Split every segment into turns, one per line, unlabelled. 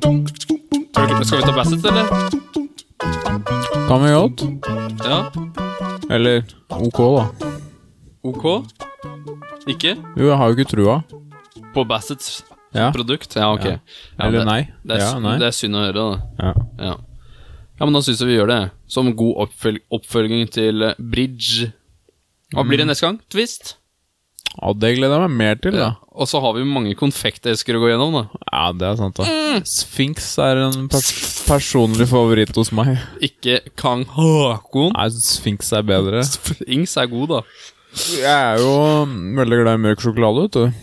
Skal vi ta Basset, eller?
Kan vi godt?
Ja.
Eller OK, da.
OK? Ikke?
Jo, jeg har jo ikke trua.
På Bassets
Ja.
produkt? Ja, ok.
Ja.
Ja,
Eller
det-
nei.
Det er,
ja, nei.
det er synd å høre, da.
Ja.
Ja. ja, men da syns jeg vi gjør det. Som god oppfølg oppfølging til eh, Bridge. Hva blir det
Mm.
neste gang? Twist?
ja, det gleder jeg meg mer til, da.
Og så har vi mange konfektesker å gå gjennom, da.
Ja, det er sant, da.
Mm.
Sphinx er en pers personlig favoritt hos meg.
Ikke Kang Håkon.
Nei, Sphinx er bedre.
Ings er god, da.
Jeg er jo mm, veldig glad i mørk sjokolade, vet du.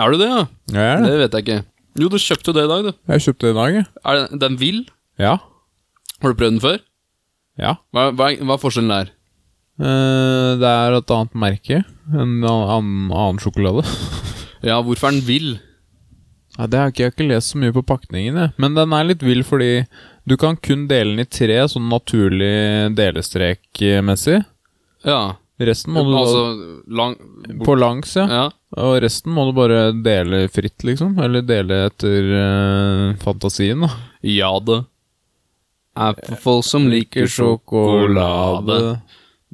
Er du det, ja?
Jeg er det.
Det vet jeg ikke. Jo, du kjøpte jo det i dag, du.
Jeg kjøpte det i dag, jeg.
Er den, den vill?
Ja.
Har du prøvd den før?
Ja.
Hva, hva, er- hva er forskjellen der?
Eh, det er et annet merke. En annen, annen sjokolade.
Ja, hvorfor er den vill?
Ja, det har ikke, jeg har ikke lest så mye på pakningen, jeg. Men den er litt vill fordi du kan kun dele den i tre, sånn naturlig delestrekmessig.
Ja.
Resten må du
Altså lang
da På langs, ja.
Ja.
Og resten må du bare dele fritt, liksom. Eller dele etter eh, fantasien, da.
Ja, det. Er for folk som liker sjokolade.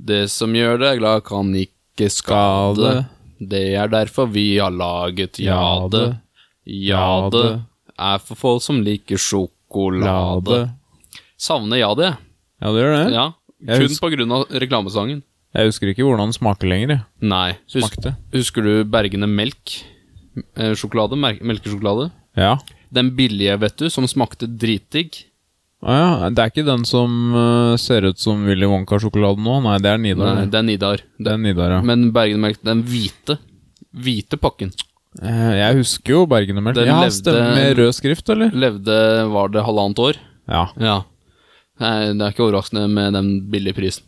Det som gjør deg glad, kan ikke skade. Det er derfor vi har laget Jade. Jade er for folk som liker sjokolade.
Lade.
Savner Jade,
Ja, det gjør det.
ja.
Jeg
Kun
husker-
på grunn av reklamesangen.
Jeg husker ikke hvordan den smaker lenger. jeg.
Nei. Husk,
Smakte.
husker du Bergene Melk? Eh, Sjokolade? mer- Melkesjokolade?
Ja.
Den billige, vet du, som smakte dritdigg.
Å ja. Det er ikke den som eh, ser ut som Willy Wonka-sjokolade nå? Nei, det er Nidar.
Nei,
det.
det er Nidar.
Det er Nidar, ja.
Men Bergene Melk, den hvite. Hvite pakken.
Eh, Jeg husker jo Bergenermelk.
Den
Ja,
levde-
stemmer med rød skrift, eller?
Levde, var det halvannet år?
Ja.
Ja. Nei, det er ikke overraskende med den billige prisen.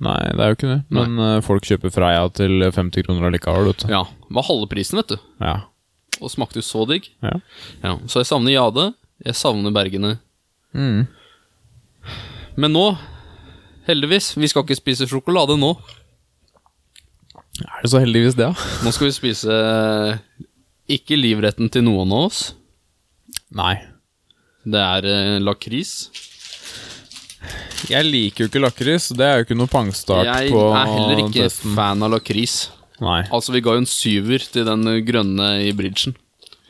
Nei, det er jo ikke det. Men eh, folk kjøper Freia til 50 kroner allikevel, vet du.
Ja. Det var halve prisen, vet du.
Ja.
Og smakte jo så digg.
ja.
Ja. Så jeg savner Jade. Jeg savner Bergene.
Mm.
Men nå, heldigvis, vi skal ikke spise sjokolade nå.
Er det så heldigvis det, da?
Nå skal vi spise eh, ikke livretten til noen av oss.
Nei.
Det er eh, lakris.
Jeg liker jo ikke lakris. Det er jo ikke noe pangstart
Jeg
på
er heller ikke
testen.
fan av lakris.
Nei.
Altså, vi ga jo en syver til den grønne i bridgen.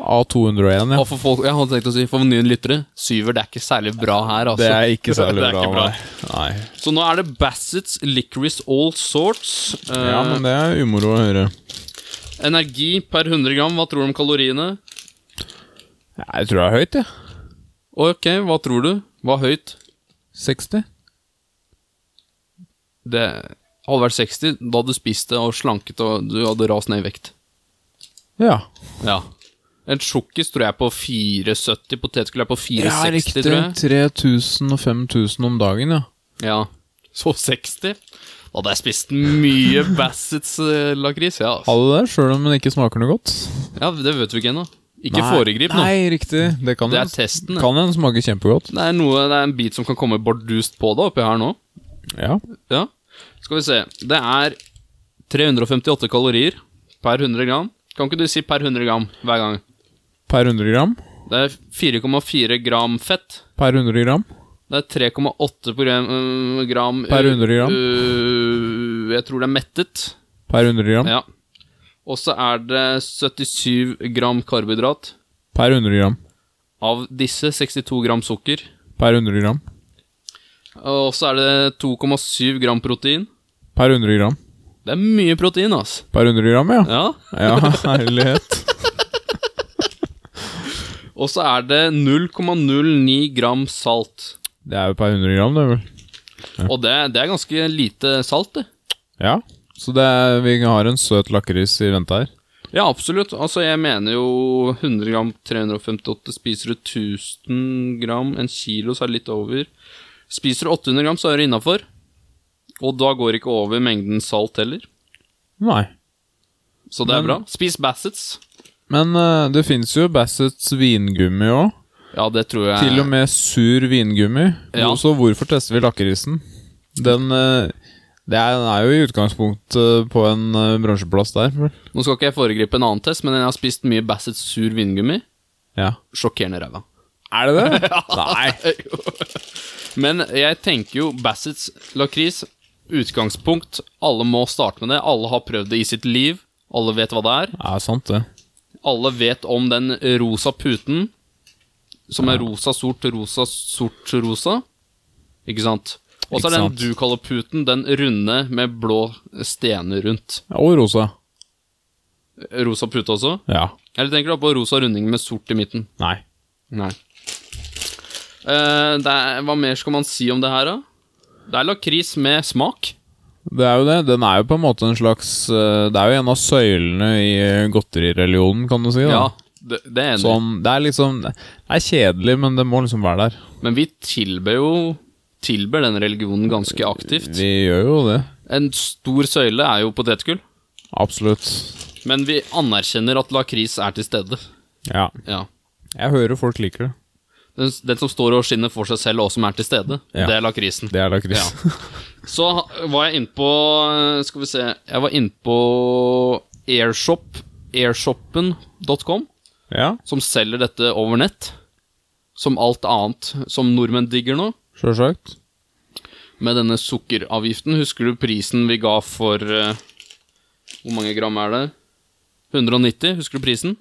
A201, ja.
Og for folk, jeg hadde tenkt å si, for nye lyttere, syver det er ikke særlig bra her, altså.
Det er ikke særlig
Det er
bra.
ikke bra.
nei. Nei.
Så nå er det Bassets Licorice All Sorts. Eh,
Ja, men det er umoro å høre.
Energi per 100 gram, hva tror du om kaloriene?
Jeg tror det er høyt, jeg.
Ok, hva tror du? Hva høyt?
60?
Det hadde vært 60 da du spiste og slanket og du hadde rast ned i vekt.
Ja.
Ja. En sjokkis tror jeg er på 470, potetgull er på
Ja,
460,
riktig.
tror jeg.
3000 og 5000 om dagen, ja.
Ja. Så 60? Da hadde jeg spist mye Bassets eh, lakris, ja. altså.
Alle der, sjøl om den ikke smaker noe godt.
Ja, det vet vi ikke ennå. Ikke
Nei.
foregrip nå.
Nei, riktig. Det kan
Det er
hende-
testen.
Kan hende smake kjempegodt.
Det er, noe, det er en bit som kan komme bardust på deg oppi her nå.
Ja.
Ja. Skal vi se. Det er 358 kalorier per 100 gram. Kan ikke du si per 100 gram hver gang?
Per 100 gram.
Det er 4,4 gram fett.
Per 100 gram.
Det er 3,8 gram, øh, gram øh,
Per 100 gram.
øh, jeg tror det er mettet.
Per 100 gram.
Ja. Og så er det 77 gram karbohydrat.
Per 100 gram.
Av disse 62 gram sukker.
Per 100 gram.
Og så er det 2,7 gram protein.
Per 100 gram.
Det er mye protein, ass.
Per 100 gram, ja.
Ja.
Ja, herlighet.
Og så er det 0,09 gram salt.
Det er jo per 100 gram, det er vel.
Og det, det er ganske lite salt, det.
Ja. Så det er, vi har en søt lakris i vente her.
Ja, absolutt. Altså, jeg mener jo 100 gram 358 Spiser du 1000 gram, en kilo, så er det litt over. Spiser du 800 gram, så er du innafor. Og da går ikke over mengden salt heller.
Nei.
Så det er
Men-
bra. Spis Bassets.
Men eh, det fins jo Bassets vingummi òg.
Ja, det tror jeg
Til og med sur vingummi.
Ja.
Så hvorfor tester vi lakrisen? Den, eh, det er, den er jo i utgangspunktet på en eh, bransjeplass der.
Nå skal ikke jeg foregripe en annen test, men jeg har spist mye Bassets sur vingummi.
Ja.
Sjokkerende ræva.
Er det det? Nei.
Men jeg tenker jo Bassets lakris, utgangspunkt. Alle må starte med det. Alle har prøvd det i sitt liv. Alle vet hva det er.
Ja, sant det.
Alle vet om den rosa puten, som er rosa, sort, rosa, sort, rosa. Ikke sant? Og så
Ikke
er den
sant.
du kaller puten, den runde med blå stener rundt.
Og rosa.
Rosa pute også?
Ja.
Eller tenker du på rosa runding med sort i midten?
Nei.
Nei. Eh, det er, hva mer skal man si om det her, da? Det er lakris med smak.
Det er jo det. Den er jo på en måte en slags eh, Det er jo en av søylene i eh, godterireligionen, kan du si.
Ja,
da.
det, det er enig.
Sånn, det er liksom Det er kjedelig, men det må liksom være der.
Men vi tilber jo Tilber den religionen ganske aktivt.
Vi gjør jo det.
En stor søyle er jo potetgull,
Absolutt.
men vi anerkjenner at lakris er til stede.
Ja.
Ja.
Jeg hører folk liker det.
Den, den som står og skinner for seg selv, og som er til stede,
Ja.
det er lakrisen.
Det er lakris.
Så ha- var jeg innpå Skal vi se Jeg var innpå Airshop airshoppen.com,
Ja.
som selger dette over nett. Som alt annet som nordmenn digger nå.
Sjølsagt.
Med denne sukkeravgiften. Husker du prisen vi ga for eh, Hvor mange gram er det? 190, husker du prisen?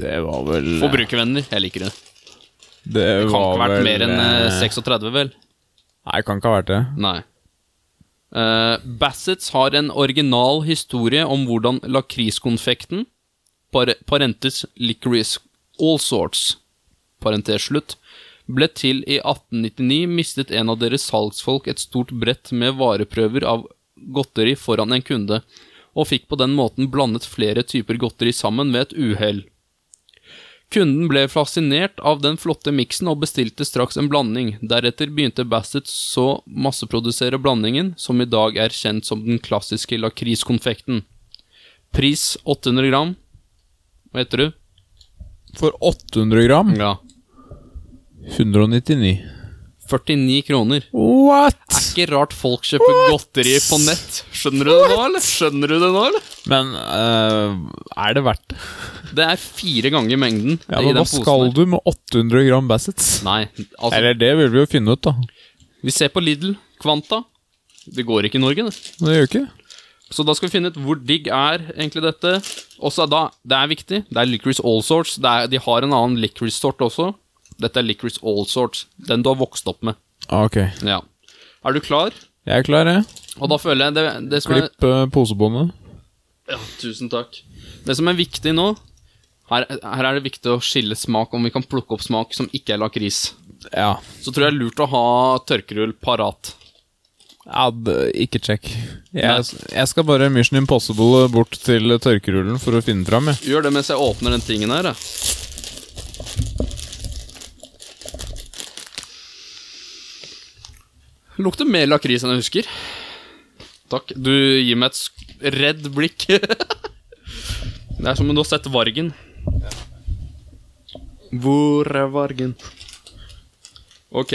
Det var vel
Forbrukervenner. Jeg liker det.
Det
Kan
var
ikke ha vært
vel,
mer enn eh,
eh,
36, vel?
Nei, kan ikke ha vært det.
Nei. Eh, Bassets har en original historie om hvordan lakriskonfekten par Parentes licorice all sorts Parentes slutt ble til i 1899 mistet en av deres salgsfolk et stort brett med vareprøver av godteri foran en kunde, og fikk på den måten blandet flere typer godteri sammen ved et uhell. Kunden ble fascinert av den flotte miksen og bestilte straks en blanding. Deretter begynte Bassett så masseprodusere blandingen, som i dag er kjent som den klassiske lakriskonfekten. Pris 800 gram. Hva heter du?
For 800 gram
Ja.
199.
49 kroner.
What?!
Ikke rart folk kjøper godteri på nett. Skjønner du det nå, eller? Skjønner du det nå, eller?
Men eh, er det verdt det?
Det er fire ganger mengden i
Ja, men
den
hva
posen
skal
her.
du med 800 gram Bassets?
Nei, altså,
Eller det vil vi jo finne ut, da.
vi ser på Lidl, Kvanta. Det går ikke i Norge, det.
Men det gjør ikke det.
Så da skal vi finne ut hvor digg er egentlig dette. Også da, Det er viktig. Det er licorice all sorts. Det er, de har en annen licorice sort også. Dette er licorice all sorts. Den du har vokst opp med.
Ah, Ok.
Ja. Er du klar?
Jeg er klar, jeg.
Og da føler jeg det, det som er
Klipp eh, posebåndet.
ja, Tusen takk. Det som er viktig nå her, her er det viktig å skille smak, om vi kan plukke opp smak som ikke er lakris.
Ja.
Så tror jeg det er lurt å ha tørkerull parat.
ja det- ikke check.
Nei.
Jeg, jeg skal bare Mission Impossible bort til tørkerullen for å finne fram, jeg.
Gjør det mens jeg åpner den tingen her. jeg. Lukter mer lakris enn jeg husker. Takk. Du gir meg et sk- redd blikk. det er som om du har sett Vargen. Hvor er Vargen? Ok.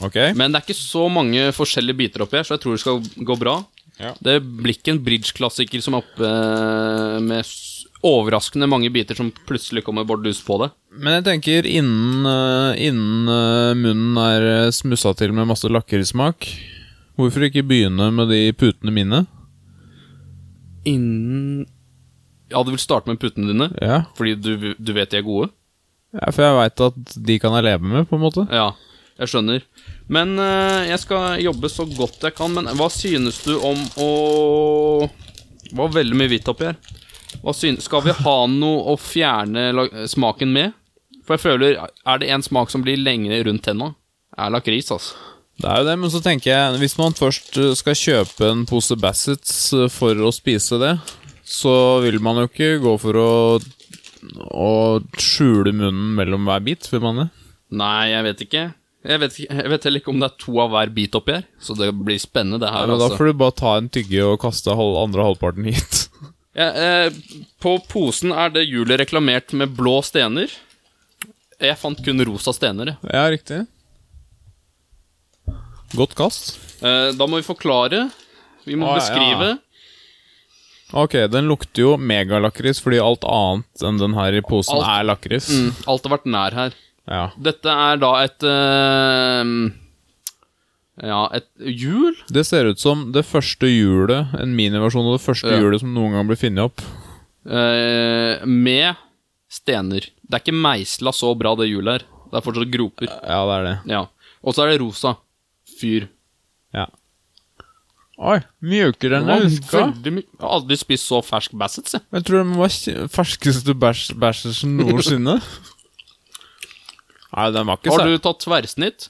Ok?
Men det er ikke så mange forskjellige biter oppi her, så jeg tror det skal gå bra.
Ja.
Det blir ikke en bridge-klassiker som er oppe eh, med s- overraskende mange biter som plutselig kommer bordus på det.
Men jeg tenker innen, eh, innen eh, munnen er eh, smussa til med masse lakrismak Hvorfor ikke begynne med de putene mine?
Innen Ja, du vil starte med puttene dine?
Ja,
Fordi du, du vet de er gode?
ja For jeg veit at de kan jeg leve med, på en måte.
Ja, jeg skjønner. Men eh, jeg skal jobbe så godt jeg kan. Men hva synes du om å Det var veldig mye hvitt oppi her. Hva synes... Skal vi ha noe å fjerne la- smaken med? For jeg føler Er det en smak som blir lengre rundt tenna, er lakris, altså.
Det er jo det, men så tenker jeg Hvis man først eh, skal kjøpe en pose Bassets eh, for å spise det, så vil man jo ikke gå for å, å skjule munnen mellom hver bit, vil man det?
Nei, jeg vet ikke. Jeg vet, ikke- jeg vet heller ikke om det er to av hver bit oppi her, så det blir spennende, det her,
Men da
altså.
får du bare ta en tygge og kaste halv, andre halvparten hit.
Ja, eh, på posen er det hjulet reklamert med blå stener. Jeg fant kun rosa stener. jeg.
Ja, riktig. Godt kast.
Eh, da må vi forklare. Vi må
Å, Ah, ja.
beskrive.
Ok, den lukter jo megalakris, fordi alt annet enn den her i posen
Alt-
er lakris.
Mm, alt har vært nær her.
Ja.
Dette er da et eh, Ja, et hjul.
Det ser ut som det første hjulet, en miniversjon av det første
Ja.
hjulet som noen gang ble funnet opp.
eh, med stener. Det er ikke meisla så bra, det hjulet her. Det er fortsatt groper.
Ja, det er det.
Ja. Og så er det rosa. Fyr.
Ja. Oi, mjukere
Det
enn
var
jeg huska.
veldig my- Jeg har aldri spist så fersk Bassets, jeg.
Jeg tror den var kj- ferskeste bæsj- bæsjersen noensinne. Nei, den var ikke
Har
sær-
du tatt tverrsnitt?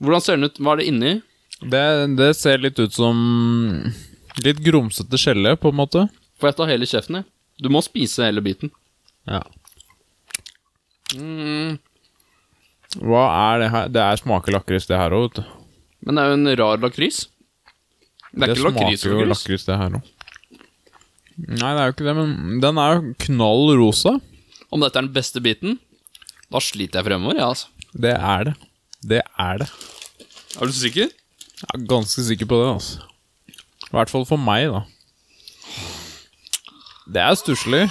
Hvordan ser den ut? Hva er det inni?
Det, det ser litt ut som litt grumsete skjelle, på en måte.
Får jeg ta hele kjeften, jeg? Du må spise hele biten.
Ja. Mm. Hva er det her? Det er smaker lakris, det her òg, vet du.
Men det er jo en rar lakris. Det er ikke lakris
smaker jo
og lakris.
lakris, det her òg. Nei, det er jo ikke det, men den er jo knall rosa.
Om dette er den beste biten, da sliter jeg fremover, jeg, altså.
Det er det. Det er det.
Er du sikker?
Jeg er ganske sikker på det, altså. I hvert fall for meg, da. Det er stusslig.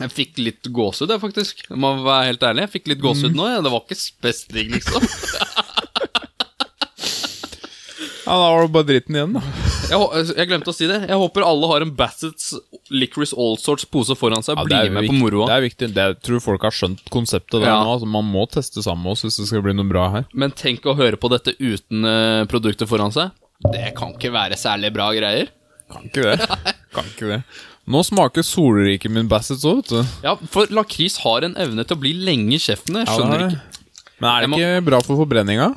Jeg fikk litt gåsehud, jeg, faktisk. Jeg må være helt ærlig. Jeg fikk litt gåsehud nå. Jeg. Det var ikke spestring, liksom.
Ja, da var det bare dritten igjen, da.
Jeg, hå- jeg glemte å si det. Jeg håper alle har en Bassets Licorice All Sorts pose foran seg. Bli med på
Det
moroa.
er viktig. Det, jeg tror folk har skjønt konseptet der
Ja.
nå. Altså, man må teste sammen med oss hvis det skal bli noe bra her.
Men tenk å høre på dette uten eh, produktet foran seg. Det kan ikke være særlig bra greier.
Kan ikke det. kan ikke det. Nå smaker solriket min Bassett så, vet du.
Ja, for lakris har en evne til å bli lenge i kjeften. Jeg skjønner ikke.
Men er
Jeg
det
må-
ikke bra for forbrenninga?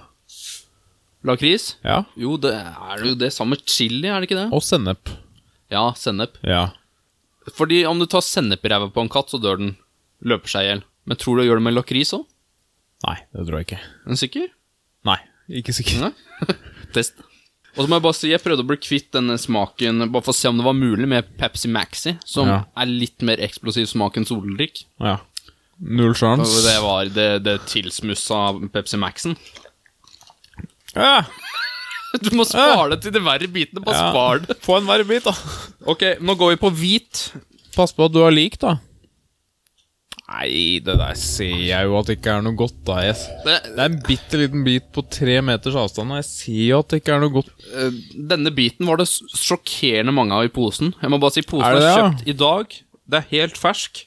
Lakris?
Ja.
Jo, det er jo det samme chili, er det ikke det?
Og sennep.
Ja, sennep.
Ja.
Fordi om du tar sennep i ræva på en katt, så dør den. Løper seg i hjel. Men tror du det gjør det med lakris òg?
Nei, det tror jeg ikke.
Er du sikker?
Nei, ikke sikker.
Nei. Test. Og så må jeg bare si, jeg prøvde å bli kvitt denne smaken, bare for å se om det var mulig, med Pepsi Maxi, som
Ja.
er litt mer eksplosiv smak enn soldrikk.
Ja. Null
Og
sjans.
Det var det, det tilsmussa Pepsi Maxen.
Ja.
Du må spare det til de verre bitene, bare
Ja.
spar det.
Få en verre bit, da.
Ok, nå går vi på hvit.
Pass på at du har lik, da. Nei, det der ser jeg jo at det ikke er noe godt, da. Jeg...
Det,
Det er en bitte liten bit på tre meters avstand, og jeg ser jo at det ikke er noe godt
eh, denne biten var det s- sjokkerende mange av i posen. Jeg må bare si, posen
Er
er,
det
kjøpt i dag. Det er helt fersk.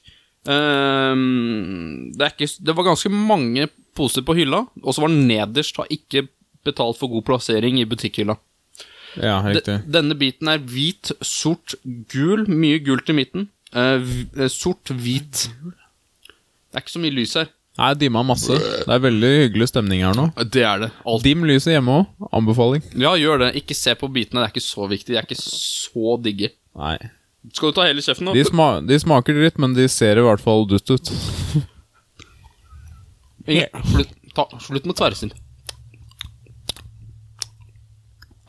Ehm, det, er ikke, s- det var ganske mange poser på hylla, og så var den nederst. Har ikke betalt for god plassering i butikkhylla.
Ja,
De-
riktig.
Denne biten er hvit, sort, gul. Mye gult i midten. Eh, hv- eh, sort, hvit. Det er ikke så mye lys her.
Nei, dimma masse. Det er veldig hyggelig stemning her nå.
Det er det. Alt.
Dim lyset hjemme òg. Anbefaling.
Ja, gjør det. Ikke se på bitene. Det er ikke så viktig. De er ikke så digge.
Nei.
Skal du ta hele kjeften nå?
De, sma de smaker dritt, men de ser i hvert fall dust ut.
Inge, slutt, ta, slutt med tverrsnitt.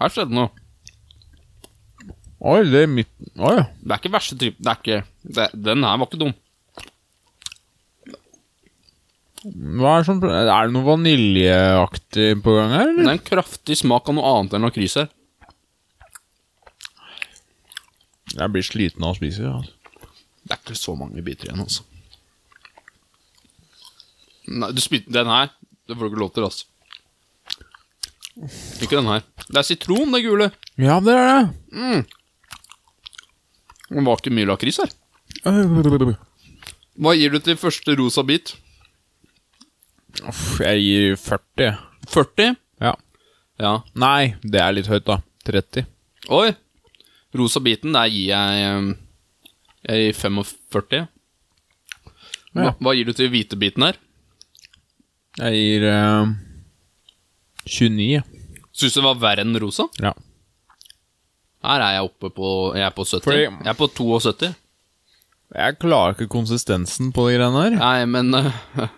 Her skjedde noe.
Oi, det er midt Oi.
Det er ikke verste type Det er ikke det, Den her var ikke dum.
Hva er, det som, er det noe vaniljeaktig på gang her,
Det
eller?
er en kraftig smak av noe annet enn lakris her.
Jeg blir sliten av å spise. Altså.
Det er ikke så mange biter igjen, altså. Nei, du spytter Den her Det får du ikke lov til, altså. Ikke den her. Det er sitron, det gule. Mm.
Ja, det er
Det var ikke mye lakris her.
det.
Hva gir du til første rosa bit?
Uff, jeg gir 40.
40?
Ja.
Ja.
Nei, det er litt høyt, da. 30.
Oi! Rosa biten, der gir jeg um, Jeg gir 45. Hva,
Ja.
hva gir du til hvite biten her?
Jeg gir eh, 29.
Syns du det var verre enn rosa?
Ja.
Her er jeg oppe på Jeg er på 70.
Fordi-
Jeg er på 72.
Jeg klarer ikke konsistensen på de greiene her.
Nei, men uh,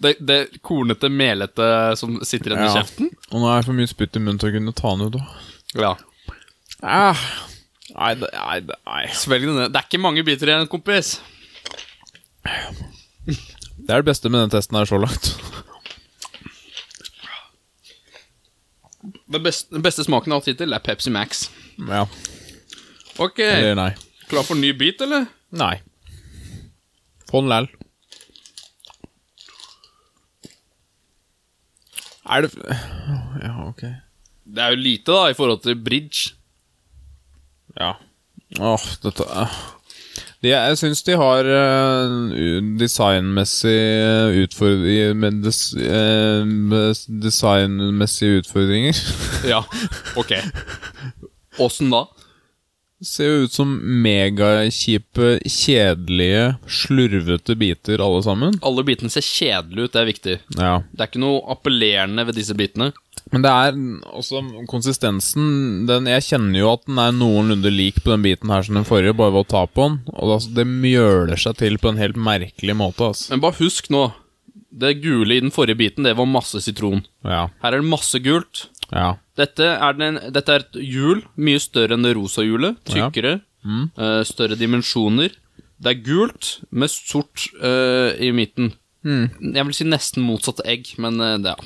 det, det kornete, melete som sitter igjen i
Ja.
kjeften?
Og nå har jeg for mye spytt i munnen til å kunne ta den ut. også.
Ja.
Ah. Nei, det- nei, det- nei.
Svelg den ned. Det er ikke mange biter igjen, kompis.
Det er det beste med den testen her så langt.
Den beste, den beste smaken jeg har hatt hittil, er Pepsi Max.
Ja.
Ok,
Eller nei.
klar for ny bit, eller?
Nei. Få den læl. Er det Ja, ok.
Det er jo lite, da, i forhold til bridge.
Ja. Åh, dette ah. de, Jeg syns de har eh, u- designmessig utfordringer Med des, eh, med s- designmessige utfordringer.
Ja, ok. Åssen da?
Ser jo ut som megakjipe, kjedelige, slurvete biter alle sammen.
Alle bitene ser kjedelige ut, det er viktig.
Ja.
Det er ikke noe appellerende ved disse bitene.
Men det er også konsistensen den, Jeg kjenner jo at den er noenlunde lik på den biten her som den forrige, bare ved å ta på den. Og det, altså, det mjøler seg til på en helt merkelig måte, altså.
Men bare husk nå, det gule i den forrige biten, det var masse sitron.
Ja.
Her er det masse gult.
Ja.
Dette er, den, dette er et hjul, mye større enn det rosa hjulet.
Ja. Mm.
Tykkere, eh, større dimensjoner. Det er gult med sort eh, i midten.
Mm.
Jeg vil si nesten motsatt egg, men eh, det, ja.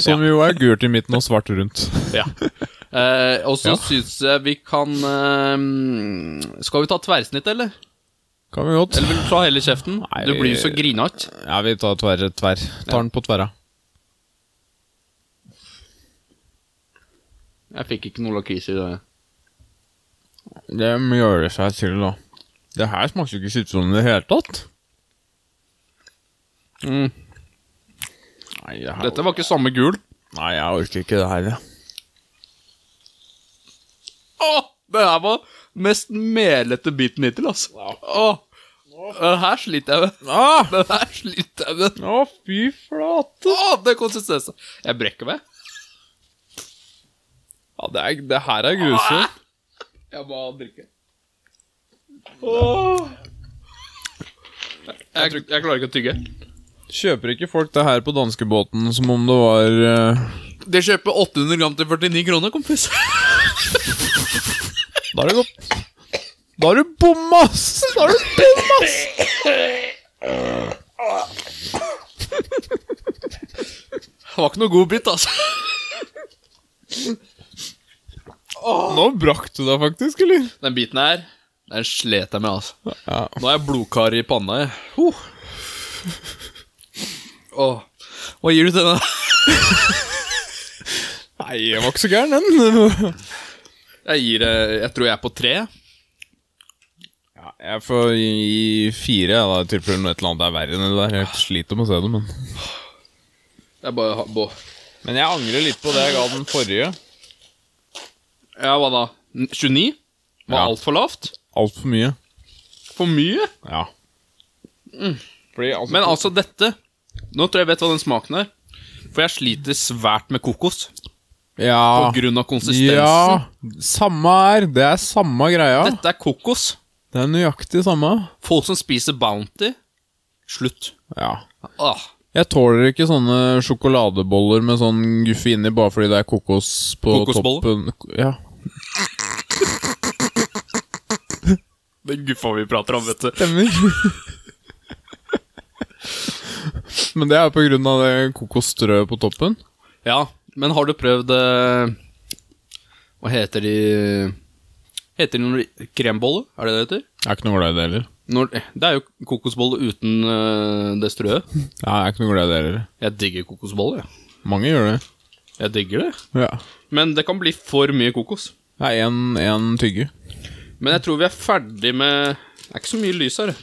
Som jo er gult i midten og svart rundt.
Ja. Eh, og så syns jeg vi kan eh, Skal vi ta tverrsnitt, eller?
Kan vi godt.
Eller vil du ta hele kjeften?
Nei,
du
vi-
blir jo så grinete.
Ja, vi tar tverr. tverr. Tar den på tverra.
Jeg fikk ikke noe lakris i det.
Det mjøler seg til, da. Det her smaker jo ikke sitron i det hele tatt.
Mm.
Nei, jeg,
Dette var ikke samme gul.
Nei, jeg orker ikke det her. jeg.
Åh, det her var mest melete biten hittil, altså. Åh, den her sliter jeg med.
Ah!
Den her sliter jeg med.
Å, fy flate!
Åh, det er konsistens. Jeg brekker meg.
Ja, det, er, det her er grusomt.
Jeg må drikke. Åh. Jeg, jeg, klarer ikke å tygge.
Kjøper ikke folk det her på danskebåten som om det var eh,
Det kjøper 800 gram til 49 kroner, kompis.
Da er det godt. Da har du bomma, ass! Da har du bomma, ass!
Det var ikke noe god bit, altså.
Nå brakk du deg faktisk, eller?
Den biten her, den slet jeg med, altså.
Ja.
Nå er jeg blodkar i panna, jeg. Huh. Åh. Hva gir du til den?
Nei, jeg var ikke så gæren, den.
Jeg gir eh, Jeg tror jeg er på tre.
Ja, jeg får gi fire, jeg, da, i tilfelle noe et eller annet er verre enn det der. Jeg sliter med å se det, men
Jeg bare har bo.
Men jeg angrer litt på det jeg ga den forrige.
Ja, hva da? N- 29? Var
Ja.
altfor lavt?
Altfor mye.
For mye?
Ja. Fordi, altså,
Mm. Men altså, dette Nå tror jeg jeg vet hva den smaken er. For jeg sliter svært med kokos
ja.
på grunn av konsistensen.
ja, samme her. Det er samme greia.
Dette er kokos.
Det er nøyaktig samme.
Folk som spiser Bounty Slutt.
Ja.
Ah.
Jeg tåler ikke sånne sjokoladeboller med sånn guffe inni bare fordi det er kokos på
Kokosboller?
toppen. Ja.
Den guffa vi prater om, vet du.
Stemmer. Men det er på grunn av det kokosstrøet på toppen.
Ja, men har du prøvd eh, Hva heter de Heter de noe krembolle? Er det det heter?
Jeg er ikke noe glad i det heller.
Når, eh, det er jo kokosbolle uten øh, det strøet.
Ja, jeg er ikke noe glad i det heller.
Jeg digger kokosbolle. jeg.
Mange gjør det.
Jeg digger det.
Ja.
Men det kan bli for mye kokos.
Det er en- en tygge.
Men jeg tror vi er ferdig med Det er ikke så mye lys her.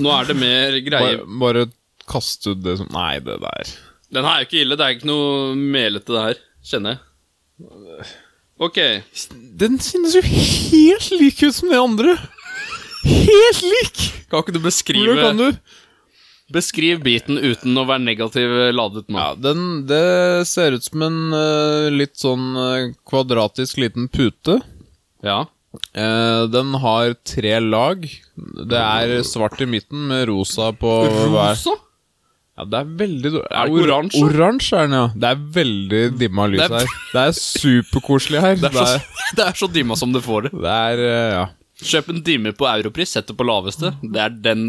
Nå er det mer greier
Bare, bare kaste ut det som Nei, det der.
Den her er jo ikke ille. Det er ikke noe melete, det her. Kjenner jeg. Ok.
Den kjennes jo helt lik ut som det andre. Helt lik!
Kan ikke du beskrive
Hvordan kan du?
Beskriv biten uten å være negativ ladet nå.
Ja, den, det ser ut som en eh, litt sånn eh, kvadratisk liten pute.
Ja.
Eh, den har tre lag. Det er svart i midten med rosa på hver
Rosa?
Ja, det er veldig dårlig.
Er det ikke oransje?
Oransje er den, ja. Det er veldig dimma lys
Det er-
her. Det er superkoselig her.
Det er, så, det er så dimma som du får det.
det er eh, ja.
Kjøp en dimme på europris, sett det på laveste. Det er den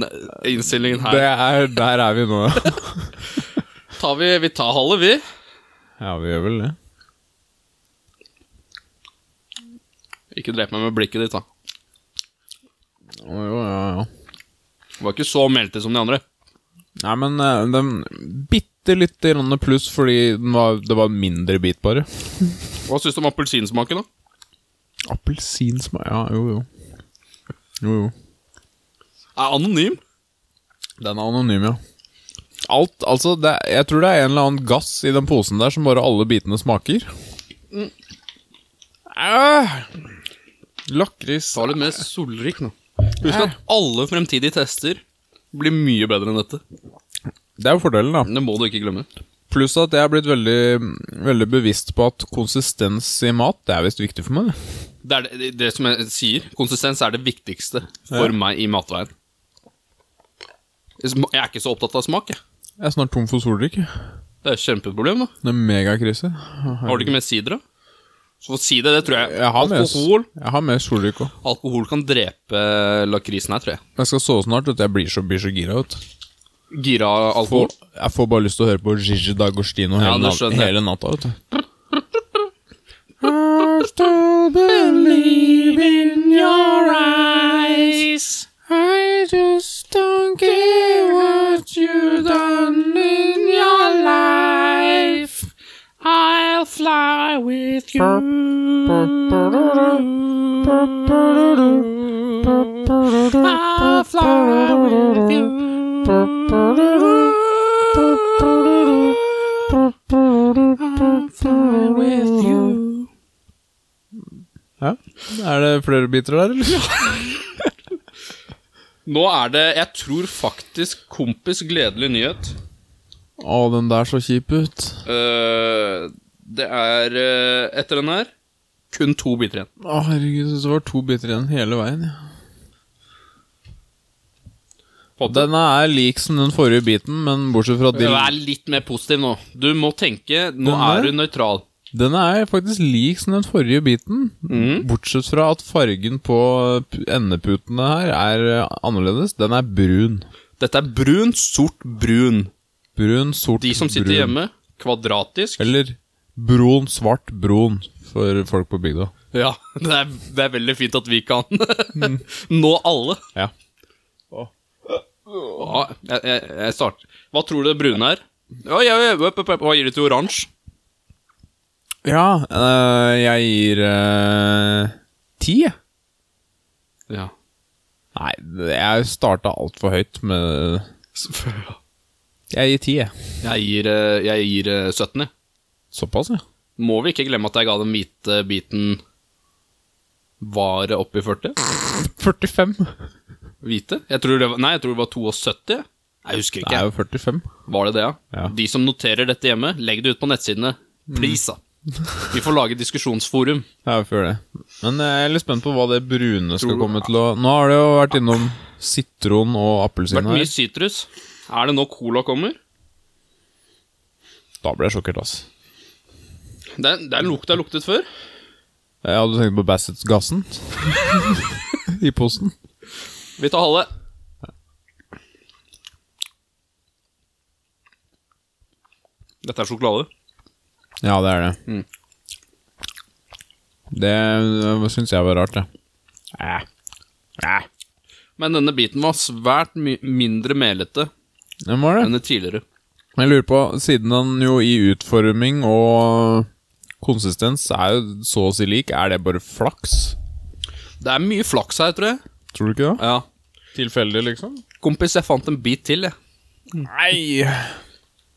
innstillingen her.
Det er, der er vi nå, ja.
Tar vi, vi tar halve, vi.
Ja, vi gjør vel det.
Ikke drep meg med blikket ditt, da.
Å, Jo, ja, ja.
Det var ikke så melte som de andre.
Nei, men eh, den bitte lite grann pluss fordi den var, det var en mindre bit, bare.
Hva syns du om appelsinsmaken, da?
Appelsinsmak Ja, jo, jo. Jo, jo.
Er anonym.
Den er anonym, ja. Alt, altså, det, er- Jeg tror det er en eller annen gass i den posen der som bare alle bitene smaker. Mm. Ah! Lakris
Ta litt mer solrik nå. Husk at alle fremtidige tester blir mye bedre enn dette.
Det er jo fordelen, da.
Det må du ikke glemme.
Pluss at jeg er blitt veldig, veldig bevisst på at konsistens i mat Det er visst viktig for meg. det.
Det er det, det som jeg sier. Konsistens er det viktigste for meg i matveien. Jeg er ikke så opptatt av smak, jeg.
Jeg er snart tom for soldrikk.
Det er et kjempeproblem, da.
Det er megakrise.
Har du ikke med sider, da? Så si det, det tror jeg.
Jeg har med,
alkohol,
jeg har med soldrikk òg.
alkohol kan drepe lakrisen her, tror jeg.
Jeg skal sove snart. Vet du. Jeg blir så, blir så gira. Vet. du.
Gira alkohol.
Får, jeg får bare lyst til å høre på Gigi D'Agostino
Ja,
hele,
det
nat
skjønner jeg.
hele natta. Vet du. Hard to believe in your eyes. I just don't care what you've done in your life. I'll fly with you. I'll fly with you. I'll fly with you. Ja, er det flere biter der, eller?
Nå er det, jeg tror faktisk, kompis gledelig nyhet.
Å, den der så kjip ut.
Eh, det er eh, etter den her kun to biter igjen.
Å, herregud, jeg synes det var to biter igjen hele veien. ja.
Fått det?
Denne er lik som den forrige biten, men bortsett fra at de-
Vær litt mer positiv nå. Du må tenke Nå
Den
er
der?
du nøytral.
Den er faktisk lik som den forrige biten,
Mm.
bortsett fra at fargen på p- endeputene her er eh, annerledes. Den er brun.
Dette er brun, sort, brun.
Brun, sort,
De som sitter
brun.
hjemme, kvadratisk.
Eller brun, svart, brun for folk på bygda.
Ja, det er, det er veldig fint at vi kan nå alle.
Ja.
Ja, jeg, jeg, jeg starter. Hva tror du det brune er? Oi, oi, oi, opp, opp, opp. Hva gir du til oransje?
Ja, eh, jeg gir eh, ti, jeg.
Ja.
Nei, jeg starta altfor høyt med Jeg gir ti, jeg.
Jeg gir, eh, jeg gir eh, 17, jeg.
Såpass, ja.
Må vi ikke glemme at jeg ga den hvite biten Var det oppi 40?
45.
Hvite? Jeg tror det var, nei, jeg tror det var 72. jeg. Jeg husker
Det
ikke.
er jo 45.
Var det det, ja?
Ja.
De som noterer dette hjemme, legg det ut på nettsidene. Please, da. Vi får lage diskusjonsforum.
Ja, vi får gjøre det. Men eh, jeg er litt spent på hva det brune skal komme til å Nå har det jo vært innom sitron og
Det har
appelsin
vært
her.
mye sitrus. Er det nå cola kommer?
Da ble jeg sjokkert, ass.
Det er, det er en lukt jeg har luktet før.
Jeg hadde tenkt på Bassett-gassen. I posten.
Vi tar halve. Dette er sjokolade.
Ja, det er det. Det syns jeg var rart, det. Eh. Eh.
Men denne biten var svært my mindre melete
Den var det.
enn det tidligere.
Jeg lurer på, siden den jo i utforming og konsistens er jo så å si lik, er det bare flaks?
Det er mye flaks her, tror jeg.
Tror du ikke det?
Ja.
Tilfeldig, liksom?
Kompis, jeg fant en bit til, jeg.
Nei!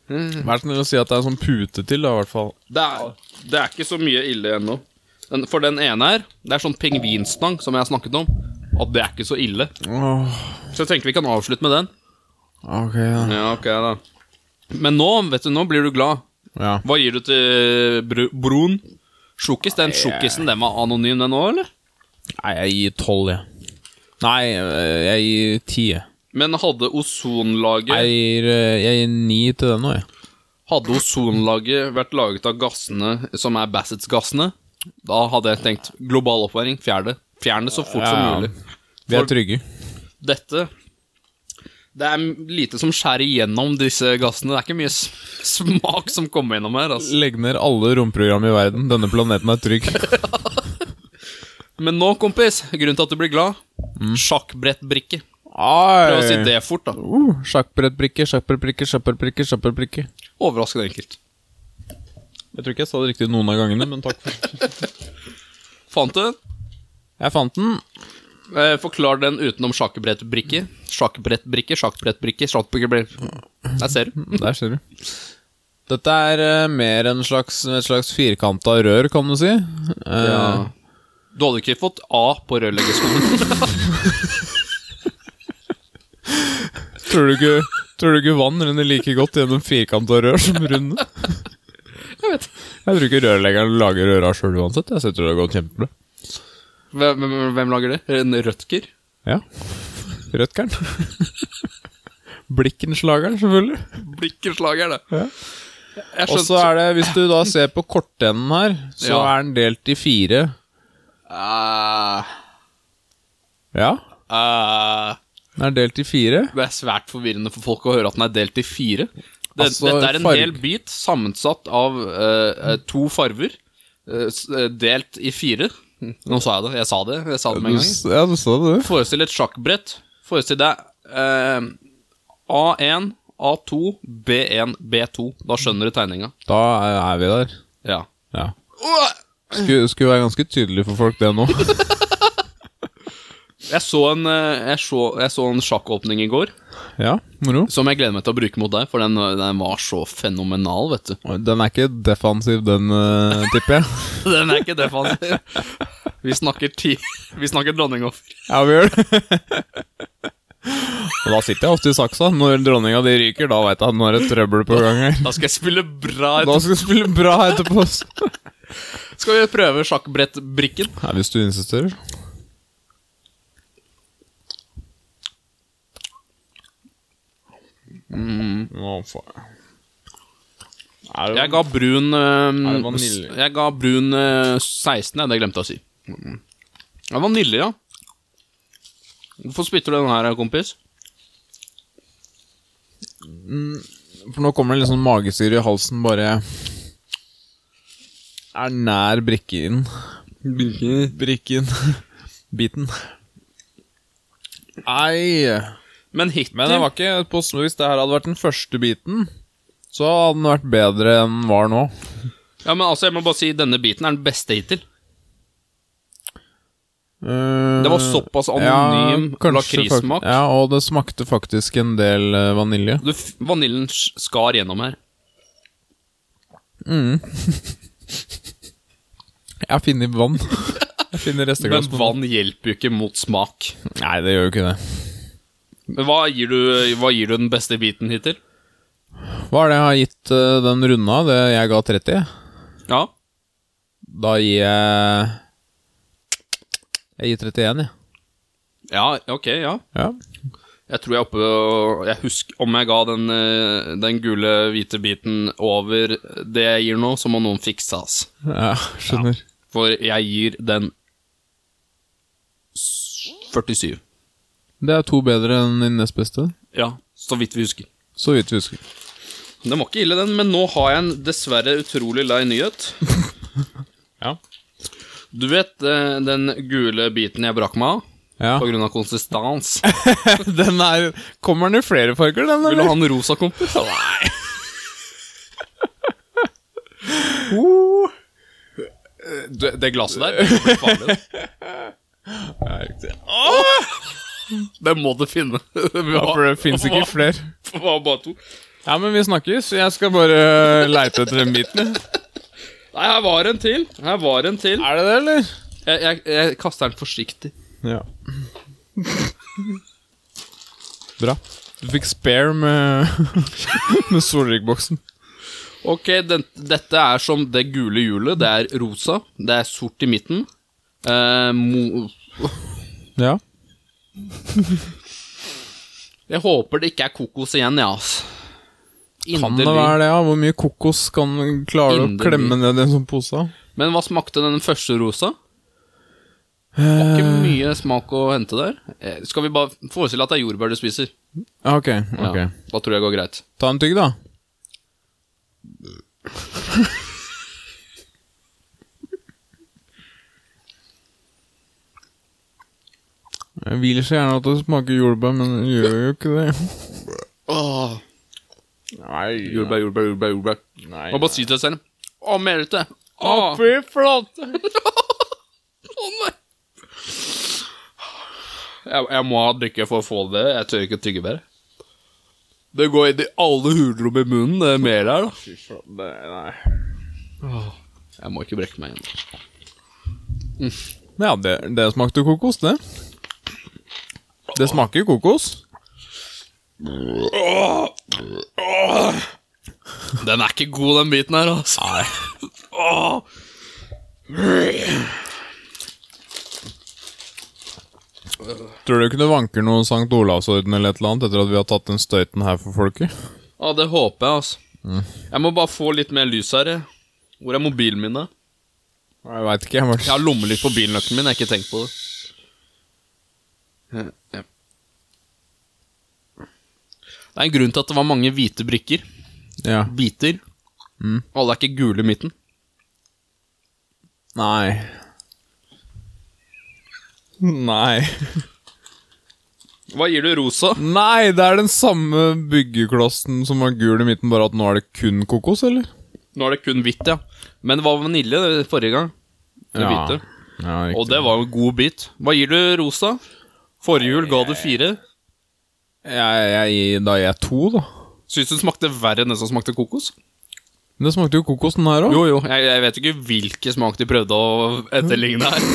Vær så snill å si at det er en sånn pute til, da, i hvert fall.
Det er, det er ikke så mye ille ennå. Den, for den ene her, det er sånn pingvinstang som jeg har snakket om. Og det er ikke så ille.
Åh,
Så jeg tenker vi kan avslutte med den.
ok, da.
Ja, ok da. Men nå, vet du, nå blir du glad.
Ja.
Hva gir du til br broen? Sjokkis? Den sjokkisen, den var anonym den òg, eller?
Nei, jeg eh, gir tolv, jeg. Nei, øh, jeg gir ti. jeg.
Men hadde ozonlaget,
Jeg gir, eh, jeg gir ni til den nå, jeg.
hadde ozonlaget vært laget av gassene som er Bassets-gassene, da hadde jeg tenkt global oppvarming, fjern det. Fjern det så fort
Ja.
som mulig.
Vi
For-
er trygge.
Dette Det er lite som skjærer igjennom disse gassene. Det er ikke mye s- smak som kommer gjennom her. Altså.
Legg ned alle romprogram i verden. Denne planeten er trygg.
Men nå, kompis, grunnen til at du blir glad sjakkbrettbrikke. Prøv å si det fort, da.
Uh, sjakkbrettbrikke, sjakkbrettbrikke, sjakkbrettbrikke, sjakkbrettbrikke.
Overraskende enkelt.
Jeg tror ikke jeg sa det riktig noen av gangene, men takk for
Fant du den?
Jeg fant den.
Eh, forklar den utenom sjakkbrettbrikke. Sjakkbrettbrikke, sjakkbrettbrikke, sjakkbrettbrikke Der ser du.
Der ser du. Dette er eh, mer en slags, et slags firkanta rør, kan du si. Eh,
Ja. Du hadde ikke fått A på rørleggerskolen.
tror, du ikke, tror du ikke vann renner like godt gjennom firkanta rør som runde?
Jeg vet.
Jeg tror ikke rørleggeren lager røra sjøl uansett. Jeg tror det har gått kjempebra.
Hvem, hvem- hvem lager det? En rødtger?
Ja. Rødkeren. Blikkenslageren, selvfølgelig.
Blikkenslager, det.
Ja.
Jeg
Og så
skjønte
er det, hvis du da ser på kortenden her, så
Ja.
er den delt i fire.
Eh,
Ja,
eh,
den er delt i fire.
Det er svært forvirrende for folk å høre at den er delt i fire. Det,
Altså,
dette er en
farg-
hel bit sammensatt av eh, eh, to farver, eh, s- eh, delt i fire. Nå sa jeg det. Jeg sa det Jeg sa det
Du,
med en gang.
s- ja, du så det, du.
Forestill et sjakkbrett. Forestill deg eh, A1, A2, B1, B2. Da skjønner du tegninga.
Da er er vi der.
Ja.
Ja. Skulle, skulle være ganske tydelig for folk, det nå.
Jeg så en, eh, jeg så, jeg så en sjakkåpning i går
Ja, moro.
som jeg gleder meg til å bruke mot deg, for den, den var så fenomenal, vet du.
Den er ikke defensiv, den, eh, tipper jeg.
Den er ikke defensiv. Vi snakker ti Vi snakker dronningoffer.
Ja, vi gjør det. Og da sitter jeg ofte i saksa. Når dronninga di ryker, da veit jeg at nå er det trøbbel på gang her.
Da skal jeg spille bra.
Da skal vi spille bra etterpå. ass.
Skal vi prøve sjakkbrettbrikken?
Nei, hvis du insisterer. Mm. Nå får jeg Er det
Jeg ga brun eh,
Er det vanilje?
s- Jeg ga brun eh, 16, jeg. Det glemte jeg å si. Ja, vanilje, ja. Hvorfor spytter du den her, kompis?
For nå kommer det litt sånn magesyre i halsen, bare Er nær brikken. Brikken. Biten. Nei
Men Hitler
Men det var ikke på, hvis det her hadde vært den første biten, så hadde den vært bedre enn den var nå.
Ja, men altså, jeg må bare si denne biten er den beste hittil. Det
Det
var såpass anonym lakrissmak.
Eh, Ja, og det smakte faktisk en del eh, vanilje.
Du, f- Vaniljen s- skar gjennom her.
Jeg har funnet vann. Jeg finner
Men
resteglass på
vann hjelper jo ikke mot smak.
Nei, det gjør jo ikke det.
Men hva gir du, hva gir du den beste biten hittil?
Hva er det jeg har gitt eh, den runda? Det jeg ga 30?
Ja.
Da gir jeg Jeg gir 31, jeg.
Ja, ok, ja.
Ja.
Jeg tror jeg er oppe og- Jeg husker om jeg ga den, eh, den gule, hvite biten over det jeg gir nå, så må noen fikse, ass.
ja skjønner.
For jeg gir den s- 47.
Det er to bedre enn din nest beste.
Ja, så vidt vi husker.
Så vidt vi husker.
Den var ikke ille, den, men nå har jeg en dessverre utrolig lei nyhet.
Ja.
Du vet eh, den gule biten jeg brakk meg av?
ja.
På grunn av konsistens.
Den er Kommer den i flere farger, den,
Vil du ha
eller?
en rosa kompis? Nei. Det, det glasset der, det blir farlig. da.
Ja, riktig.
Det må du finne. Vi
Ja, for det fins ikke
var-
flere.
var bare to.
Ja, men vi snakkes. Jeg skal bare leite etter den biten.
Nei, her var en til. Her var en til.
Er det det, eller?
Jeg, jeg, jeg kaster den forsiktig.
Ja. Bra. Du fikk spare med, med Solrik-boksen.
Ok, den, dette er som det gule hjulet. Det er rosa. Det er sort i midten. Eh, mo
Ja.
Jeg håper det ikke er kokos igjen, jeg, altså.
Kan det være det, ja? Hvor mye kokos kan klare å
Inderlig.
klemme ned i en sånn pose?
Men hva smakte den første rosa? Var ikke
Eh.
mye smak å hente der. Eh, Skal vi bare forestille at det er jordbær du spiser?
Ja, Ok, ok.
Ja, da tror jeg det går greit.
Ta en tygg, da. Jeg vil så gjerne at det smaker jordbær, men det gjør jo ikke det.
Åh,
Nei,
jordbær, jordbær, jordbær. jordbær
Nei,
Og bare si til deg selv Å, melete! Å,
fy flate!
å nei! Jeg, jeg må ha drikke for å få det. Jeg tør ikke tygge mer. Det går inn i alle hulrom i munnen, det melet her, da.
Fy flate, nei.
Jeg må ikke brekke meg igjen.
Ja, det, det smakte kokos, det. Det smaker jo kokos.
Den er ikke god, den biten her, altså. Nei.
Tror du ikke det vanker noen Sankt Olavsorden eller et eller annet etter at vi har tatt den støyten her for folket?
Ja, det håper jeg, altså. Jeg må bare få litt mer lys her. jeg. Hvor er mobilen min, da?
Jeg veit ikke. Jeg
Jeg har lommelykt på bilnøkkelen min, jeg har ikke tenkt på det. Ja. Det er en grunn til at det var mange hvite brikker.
ja.
Biter. Alle er ikke gule i midten.
Nei. Nei.
Hva gir du rosa?
Nei, det er den samme byggeklossen som var gul i midten, bare at nå er det kun kokos, eller?
Nå er det kun hvitt, ja. Men det var vanilje det forrige gang. Det
Ja,
hvite.
Ja,
Og det var jo en god bit. Hva gir du rosa? Forrige jul ga du fire.
jeg, jeg, Da gir jeg to, da.
Syns du den smakte verre enn den som smakte kokos?
Men det smakte jo kokos, den her òg.
Jo, jo. Jeg, jeg vet ikke hvilken smak de prøvde å etterligne her.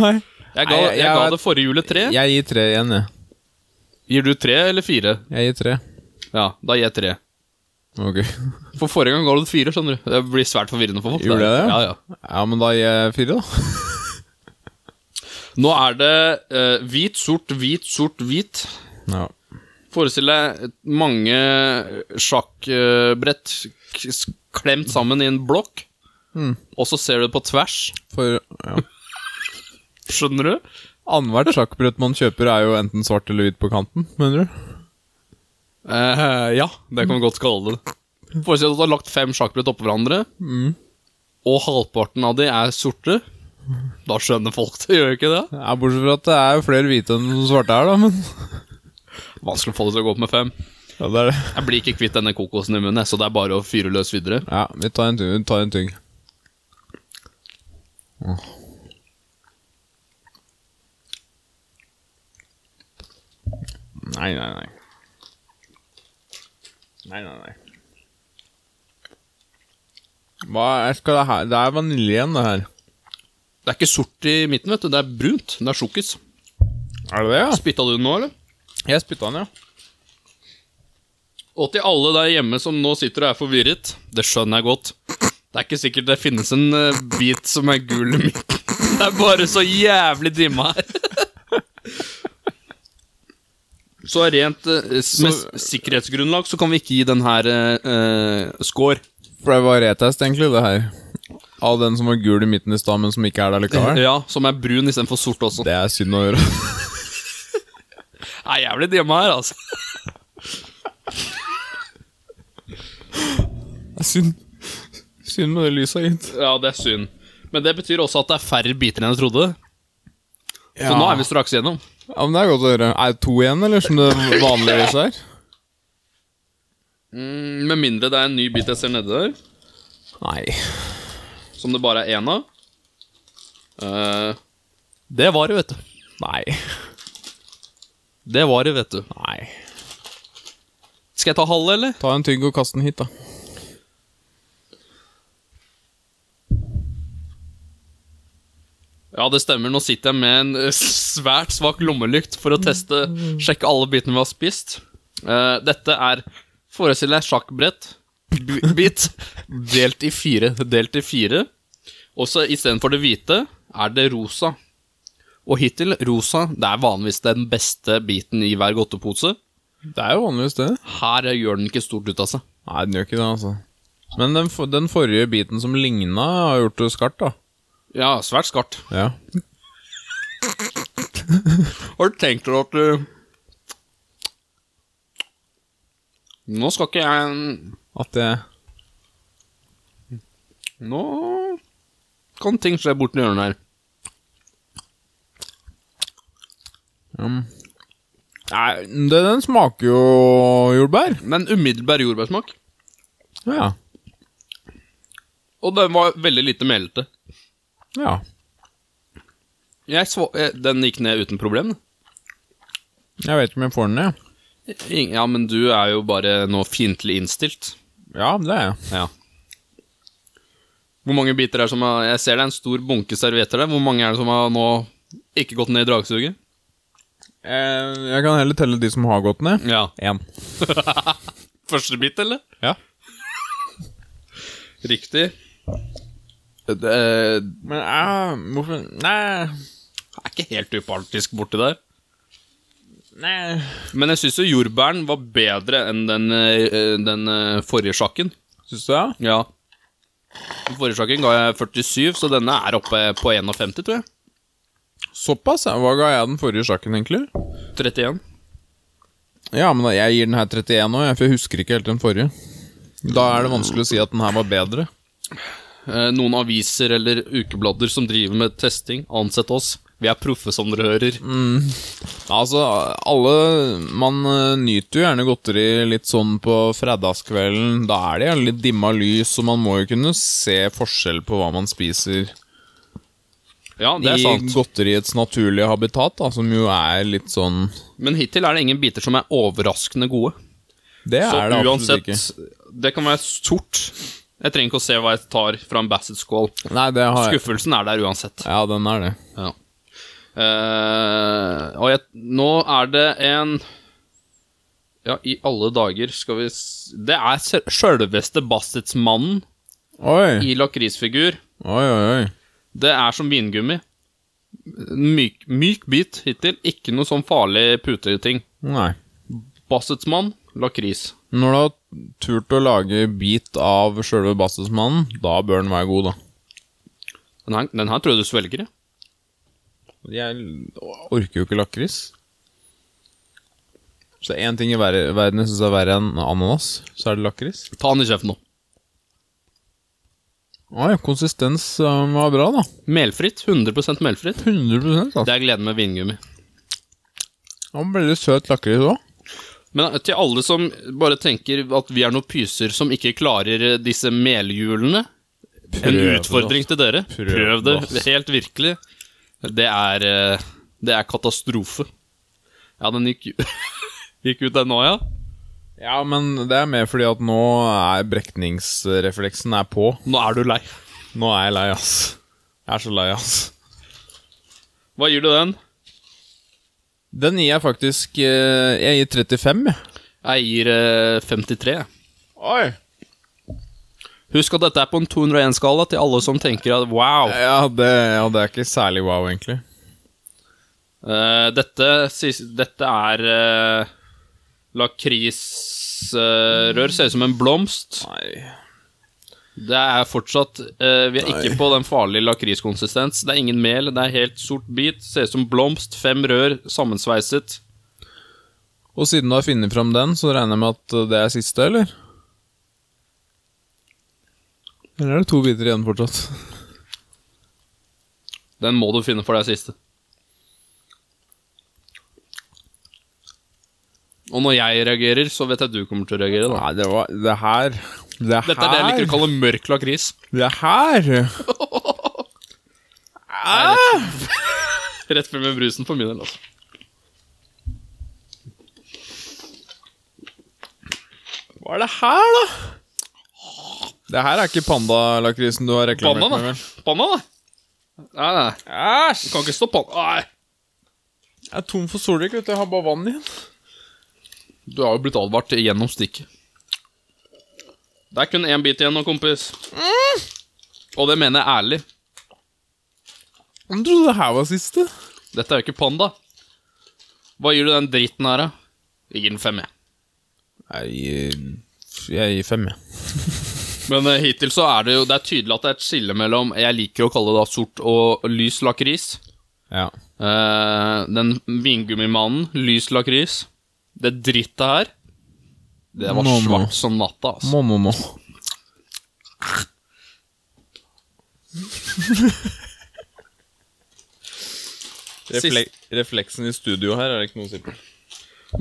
Nei.
Jeg ga,
Nei, jeg-
jeg ga
jeg-
det forrige julet tre.
Jeg gir tre igjen, jeg.
Gir du tre eller fire?
Jeg gir tre.
Ja, da gir jeg tre.
Ok.
For forrige gang ga du det fire, skjønner du. Det blir svært forvirrende for folk.
Gjorde jeg det?
Ja, ja.
Ja, men da gir jeg fire, da.
Nå er det eh, hvit, sort, hvit, sort, hvit.
Ja.
Forestill deg mange sjakkbrett k- s- klemt sammen i en blokk. Og så ser du på tvers.
For ja.
Skjønner du?
annethvert sjakkbrett man kjøper, er jo enten svart eller hvit på kanten, mener du?
Eh, ja, det kan vi godt kalle det. Mm. Forestill deg at du har lagt fem sjakkbrett oppå hverandre, og halvparten av de er sorte. Da skjønner folk det, gjør ikke det?
Ja, Bortsett fra at det er jo flere hvite enn svarte her, da, men
Vanskelig å få det til å gå opp med fem.
Ja, det er det.
Jeg blir ikke kvitt denne kokosen i munnen, jeg, så det er bare å fyre løs videre.
Ja, vi tar en, ty- tar en tygg. Nei, nei, nei. Nei, nei, nei. Hva er, skal det her Det er vanilje igjen, det her.
Det er ikke sort i midten, vet du. Det er brunt. Det er sjokkis.
Er det det, ja?
Spytta du den nå, eller?
Jeg spytta den, ja.
Og til alle der hjemme som nå sitter og er forvirret, det skjønner jeg godt. Det er ikke sikkert det finnes en eh, bit som er gul i midten. Det er bare så jævlig dimma her. Så rent eh, s- med s- sikkerhetsgrunnlag så kan vi ikke gi den her eh, eh, score.
For det var retest, egentlig, det her. Av den som var gul i midten i stad, men som ikke er der likevel.
Ja, som er brun istedenfor sort også.
Det er synd å gjøre.
Det er jævlig dimma her, altså.
Det er synd. Synd med det lyset, gitt.
Ja, det er synd. Men det betyr også at det er færre biter enn jeg trodde. Så nå er vi straks gjennom.
Ja, men Det er godt å høre. Er det to igjen, eller som det vanligvis er?
Mm, med mindre det er en ny bit jeg ser nede der,
Nei.
som det bare er én av. Eh, det var det, vet du.
Nei.
Det var det, vet du.
Nei.
Skal jeg ta halve, eller?
Ta en tygg og kast den hit, da.
Ja, det stemmer. Nå sitter jeg med en eh, svært svak lommelykt for å teste, sjekke alle bitene vi har spist. Eh, dette er Forestill deg sjakkbrett, b- bit, delt i fire. Delt i fire. Og så istedenfor det hvite er det rosa. Og hittil, rosa det er vanligvis den beste biten i hver godtepose.
Det er jo vanligvis det.
Her gjør den ikke stort ut av seg.
Nei, den gjør ikke det, altså. Men den, for, den forrige biten som ligna, har gjort det skarpt, da.
Ja, svært skarpt.
Ja.
Har du tenkt deg at eh, du Nå skal ikke jeg
At det
Nå kan ting skje borti hjørnet her.
Nei, den, den smaker jo jordbær.
Men umiddelbar jordbærsmak.
Ja.
Og den var veldig lite melete.
Ja.
Jeg sva eh, den gikk ned uten problem.
Jeg vet ikke om jeg får den ned.
Ing- Ja, men du er jo bare nå fiendtlig innstilt.
Ja, det er jeg.
Ja. Hvor mange biter er det som har Jeg ser det er en stor bunke servietter der. Hvor mange er det som har nå ikke gått ned i dragsuget?
Eh, Jeg kan heller telle de som har gått ned.
Ja.
Én.
Første bit, eller?
Ja.
Riktig. Det er
Men eh, hvorfor Nei.
er ikke helt upartisk borti der.
Nei.
Men jeg syns jo jordbæren var bedre enn den, eh, den eh, forrige sjakken.
Syns du det?
Ja. Den forrige sjakken ga jeg 47, så denne er oppe på 51, tror jeg.
Såpass? ja. Hva ga jeg den forrige sjakken, egentlig?
31.
Ja, men da, jeg gir den her 31 nå, jeg, for jeg husker ikke helt den forrige. Da er det vanskelig å si at den her var bedre.
Eh, Noen aviser eller ukeblader som driver med testing, ansett oss. Vi er proffe, som dere hører.
Altså, alle Man eh, nyter jo gjerne godteri litt sånn på fredagskvelden. Da er det gjerne litt dimma lys, og man må jo kunne se forskjell på hva man spiser
Ja, det er
i
sant.
godteriets naturlige habitat, da, som jo er litt sånn
Men hittil er det ingen biter som er overraskende gode.
Det
Så
er det absolutt
uansett,
ikke.
det kan være sort. Jeg trenger ikke å se hva jeg tar fra en Bassett-skål.
Nei, det har jeg.
Skuffelsen er der uansett.
Ja, den er det.
Ja. Eh, og jeg, nå er det en Ja, i alle dager skal vi s Det er se- sjølveste Bassett-mannen
Oi,
i lakrisfigur.
oi, oi. oi.
Det er som vingummi. Myk, myk bit hittil. Ikke noe sånn farlig puteting.
Nei.
Bassetsmann, lakris.
Når du har turt å lage bit av sjølve bastusmannen, da bør den være god, da.
Den her, den her tror jeg du svelger, jeg.
Jeg orker jo ikke lakris. Så det er én ting i ver- verden jeg syns er verre enn ananas, så er det lakris.
Ta den i kjeften nå.
Oi, konsistens øh, var bra, da.
Melfritt. 100 melfritt.
100 altså.
Det er gleden med vingummi.
Det var veldig søt lakris òg.
Men eh, til alle som bare tenker at vi er noen pyser som ikke klarer eh, disse melhjulene En
det, altså.
utfordring til dere.
Prøv
Prøv,
det,
det.
ass.
Helt virkelig. Det er eh, Det er katastrofe. Ja, den gikk, gikk ut den nå, ja?
Ja, men det er mer fordi at nå er brekningsrefleksen er på.
Nå er du lei.
Nå er jeg lei, ass. Jeg er så lei, ass.
Hva gir du den?
Den gir jeg faktisk øh, Jeg gir 35, jeg.
Jeg gir eh, 53.
Oi!
Husk at dette er på en 201-skala til alle som tenker at wow.
Ja det, ja, det er ikke særlig wow, egentlig.
Eh, dette, sis- dette er eh, lakrisrør. Ser ut som en blomst.
Nei.
Det er fortsatt eh, Vi er ikke på den farlige lakriskonsistens. Det er ingen mel, det er helt sort bit. Ser ut som blomst. Fem rør sammensveiset.
Og siden du har funnet fram den, så regner jeg med at uh, det er siste, eller? Eller er det to biter igjen fortsatt?
Den må du finne for deg siste. Og når jeg reagerer, så vet jeg du kommer til å reagere. da
Nei, det var Det her Det her
Dette er det jeg liker å kalle mørk lakris.
Det her
Rett frem med brusen for min del, altså.
Hva er det her, da? Det her er ikke pandalakrisen du har reklamert
Panna,
med,
da.
vel?
Panna, da. Nei, nei.
Æsj!
Kan ikke stå panna. Nei.
Jeg er tom for solrik, vet du. Jeg har bare vann igjen.
Du har jo blitt advart gjennom stikket. Det er kun én bit igjen nå, kompis. Og det mener jeg ærlig.
Jeg trodde det her var siste.
Dette er jo ikke panda. Hva gir du den dritten her, da? Jeg gir den fem, jeg.
Jeg gir- jeg gir fem, jeg.
Men eh, hittil så er det jo Det er tydelig at det er et skille mellom Jeg liker å kalle det da sort og lys lakris.
Ja.
Eh, den vingummimannen, lys lakris. Det drittet her. Det var
Nå, nå.
svart som natta, altså.
Må, må, må. Refle- refleksen i studio her er det ikke noe å si på.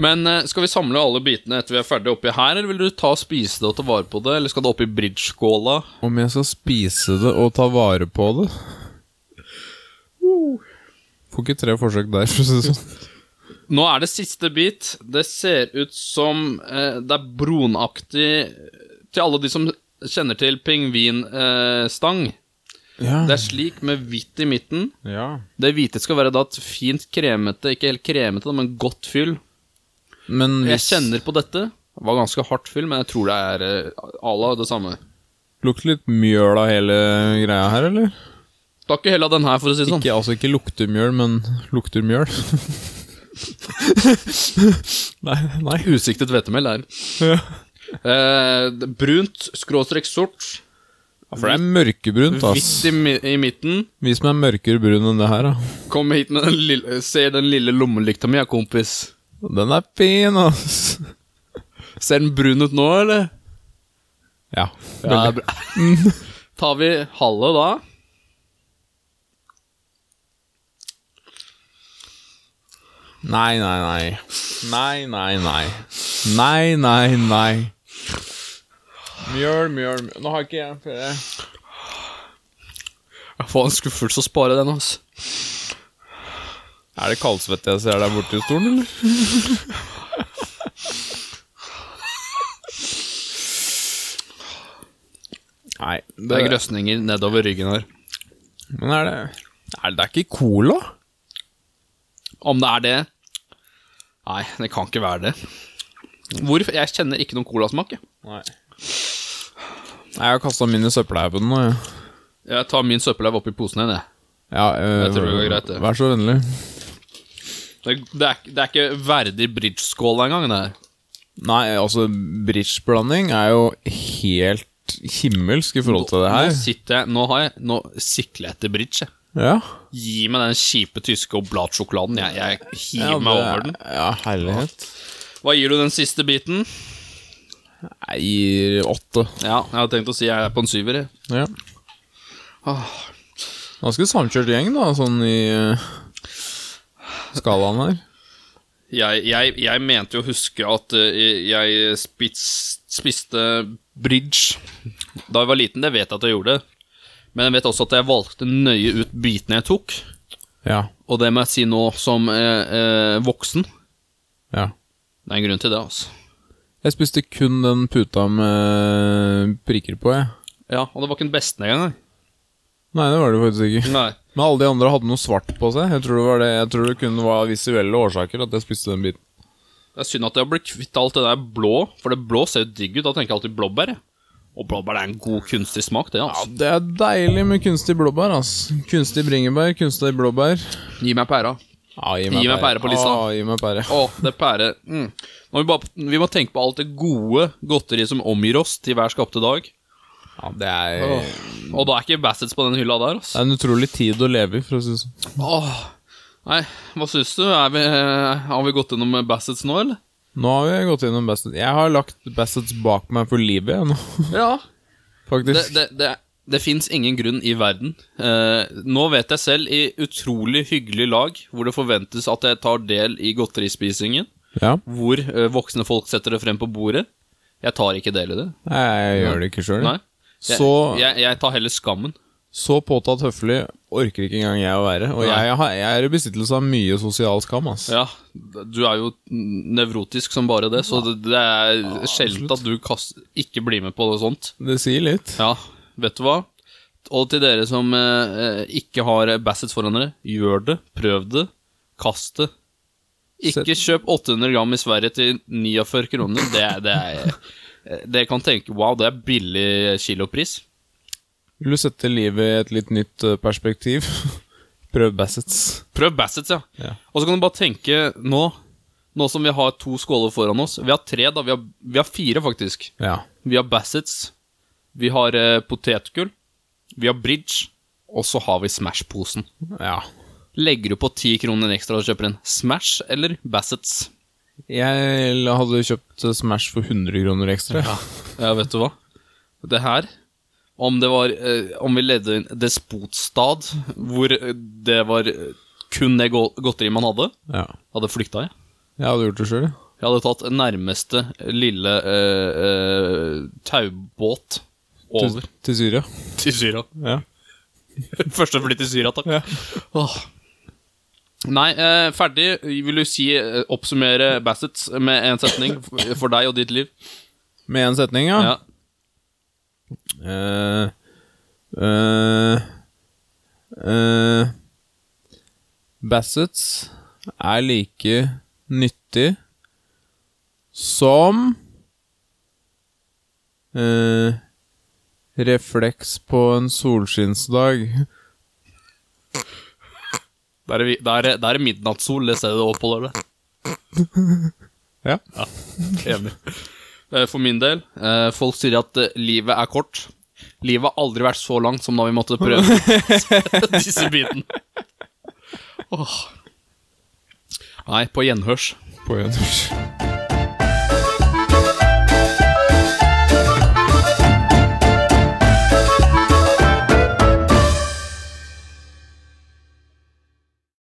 Men eh, skal vi samle alle bitene etter vi er ferdige oppi her, eller vil du ta og spise det og ta vare på det, eller skal det oppi bridge-skåla?
Om jeg skal spise det og ta vare på det Får ikke tre forsøk der, for å si det sånn.
Nå er det siste bit. Det ser ut som eh, det er brunaktig til alle de som kjenner til pingvinstang. Eh, stang.
Ja.
det er slik med hvitt i midten.
ja.
Det hvite skal være da et fint kremete, ikke helt kremete, men godt fyll.
Men
Jeg
hvis
kjenner på dette. Det var ganske hardt fyll, men jeg tror det er eh, à la det samme.
Lukter litt mjøl av hele greia her, eller?
Tar ikke hele den her, for å si det sånn.
Ikke, altså ikke lukter mjøl, men lukter mjøl. nei, nei.
Usiktet hvetemel er
Ja.
eh, det- Brunt, skråstrek sort.
For det er mørkebrunt, ass.
Hvitt i, mi- i midten.
Vi som er mørkere brun enn det her, da.
Kom hit med den lille Ser den lille lommelykta mi, ja, kompis.
Den er fin, ass.
Ser den brun ut nå, eller?
Ja.
Ja, det er bra. Tar vi halve da?
Nei, nei, nei. Nei, nei, nei. Nei, nei, nei. Mjøl, mjøl, mjøl. Nå har ikke jeg flere.
Jeg får en skuffelse å spare den, altså.
Er det kaldsvette jeg ser der borte i stolen, eller? Nei,
Det er grøsninger nedover ryggen her.
Men er det Er det ikke cola?
Om det er det Nei, det kan ikke være det. Hvorfor? Jeg kjenner ikke noen colasmak. jeg.
Nei. Jeg har kasta min i søppelhaugen nå, jeg.
Jeg tar min søppelhaug oppi posen igjen, jeg.
Ja, øh,
Jeg tror det går greit, det.
Vær så vennlig.
Det, det, er, ikke- det er ikke verdig bridge-skål engang, det her.
Nei, altså, bridgeblanding er jo helt himmelsk i forhold til det
Nå
her.
sitter jeg Nå har jeg Nå sikler jeg etter bridge, jeg.
Ja.
Gi meg den kjipe tyske oblatsjokoladen. Jeg, jeg hiver
ja,
meg
det-
over den.
Ja, herlighet.
Hva gir du den siste biten?
Jeg gir åtte.
Ja, jeg hadde tenkt å si jeg er på en syver. jeg.
Ja.
Ah.
Ganske samkjørt gjeng, da, sånn i eh, skalaen her.
Jeg, jeg, jeg mente jo å huske at eh, jeg spits, spiste bridge da jeg var liten. Det vet jeg at jeg gjorde. Men jeg vet også at jeg valgte nøye ut bitene jeg tok.
Ja.
Og det må jeg si nå som eh, eh, voksen.
ja.
Det er en grunn til det, altså.
Jeg spiste kun den puta med prikker på, jeg.
Ja, Og det var ikke den beste engang.
Nei, det var det faktisk ikke.
Nei.
Men alle de andre hadde noe svart på seg. Jeg tror det, var det. Jeg tror det kun var visuelle årsaker at jeg spiste den biten.
Det er synd at jeg har blitt kvitt alt det der blå, for det blå ser jo digg ut. Da tenker jeg alltid blåbær. jeg. Og blåbær det er en god, kunstig smak, det. altså.
Det er deilig med kunstig blåbær, ass. Kunstig bringebær, kunstig blåbær.
Gi meg pæra.
Ja,
Gi meg pære på lista.
Ja, gi meg pære.
Å, det er pære. Mm. Nå må vi, bare, vi må tenke på alt det gode godteriet som omgir oss til hver skapte dag.
Ja, det er
Og da er ikke Bassets på den hylla der,
Det
altså.
er en utrolig tid å leve i, for å si det sånn.
Åh. Nei, hva syns du? Er vi, eh, har vi gått gjennom Bassets nå, eller?
Nå har vi gått gjennom Bassett. Jeg har lagt Bassets bak meg for livet, jeg nå,
Ja. Det,
faktisk.
det, det, det fins ingen grunn i verden. Eh, nå vet jeg selv, i utrolig hyggelig lag, hvor det forventes at jeg tar del i godterispisingen,
Ja.
hvor eh, voksne folk setter det frem på bordet. Jeg tar ikke del i det.
Nei, jeg gjør det ikke sjøl.
Nei. Jeg,
Så-
jeg, jeg tar heller skammen.
Så påtatt høflig orker ikke engang jeg å være. Og
Nei.
jeg, har, jeg er i besittelse av mye sosial skam, ass.
Ja, du er jo nevrotisk som bare det, så det, det er sjeldent at du kast, ikke blir med på noe sånt.
Det sier litt.
Ja, vet du hva? Og til dere som eh, eh, ikke har Bassets foran dere, gjør det, prøv det, kast det. Ikke kjøp 800 gram i Sverige til 49 kroner. Det, er- det er eh, Dere kan tenke wow, det er billig kilopris.
Vil du sette livet i et litt nytt eh, perspektiv? Prøv Bassets.
Prøv Bassets, ja.
Ja.
Og så kan du bare tenke nå, nå som vi har to skåler foran oss Vi har tre, da. Vi har, vi har fire, faktisk.
Ja.
Vi har Bassets. Vi har eh, potetgull. Vi har Bridge. Og så har vi Smash-posen.
ja.
Legger du på ti kroner ekstra og kjøper en Smash eller Bassets?
Jeg hadde kjøpt eh, Smash for 100 kroner ekstra.
Ja, vet du hva? Det her Om det var eh, Om vi ledde en despotstad hvor eh, det var eh, kun det go- godteriet man hadde,
Ja.
hadde flykta jeg.
Jeg hadde gjort det sjøl, jeg.
Jeg hadde tatt nærmeste lille eh, eh, taubåt
Til,
over
til Syria.
til Syria.
Ja.
Første fly til Syria, takk.
Ja.
Åh. Nei, eh, ferdig. Vil du si eh, oppsummere Bassets med en setning f- for deg og ditt liv?
Med én setning, ja.
Ja.
Eh, eh, eh, Bassets er like nyttig som eh, refleks på en solskinnsdag.
Der er, vi, der, er- der er midnattssol det stedet du oppholder deg.
Ja.
Enig. Eh, For min del, eh, folk sier at eh, livet er kort. Livet har aldri vært så langt som da vi måtte prøve disse bitene. Åh. Nei, på gjenhørs.
På en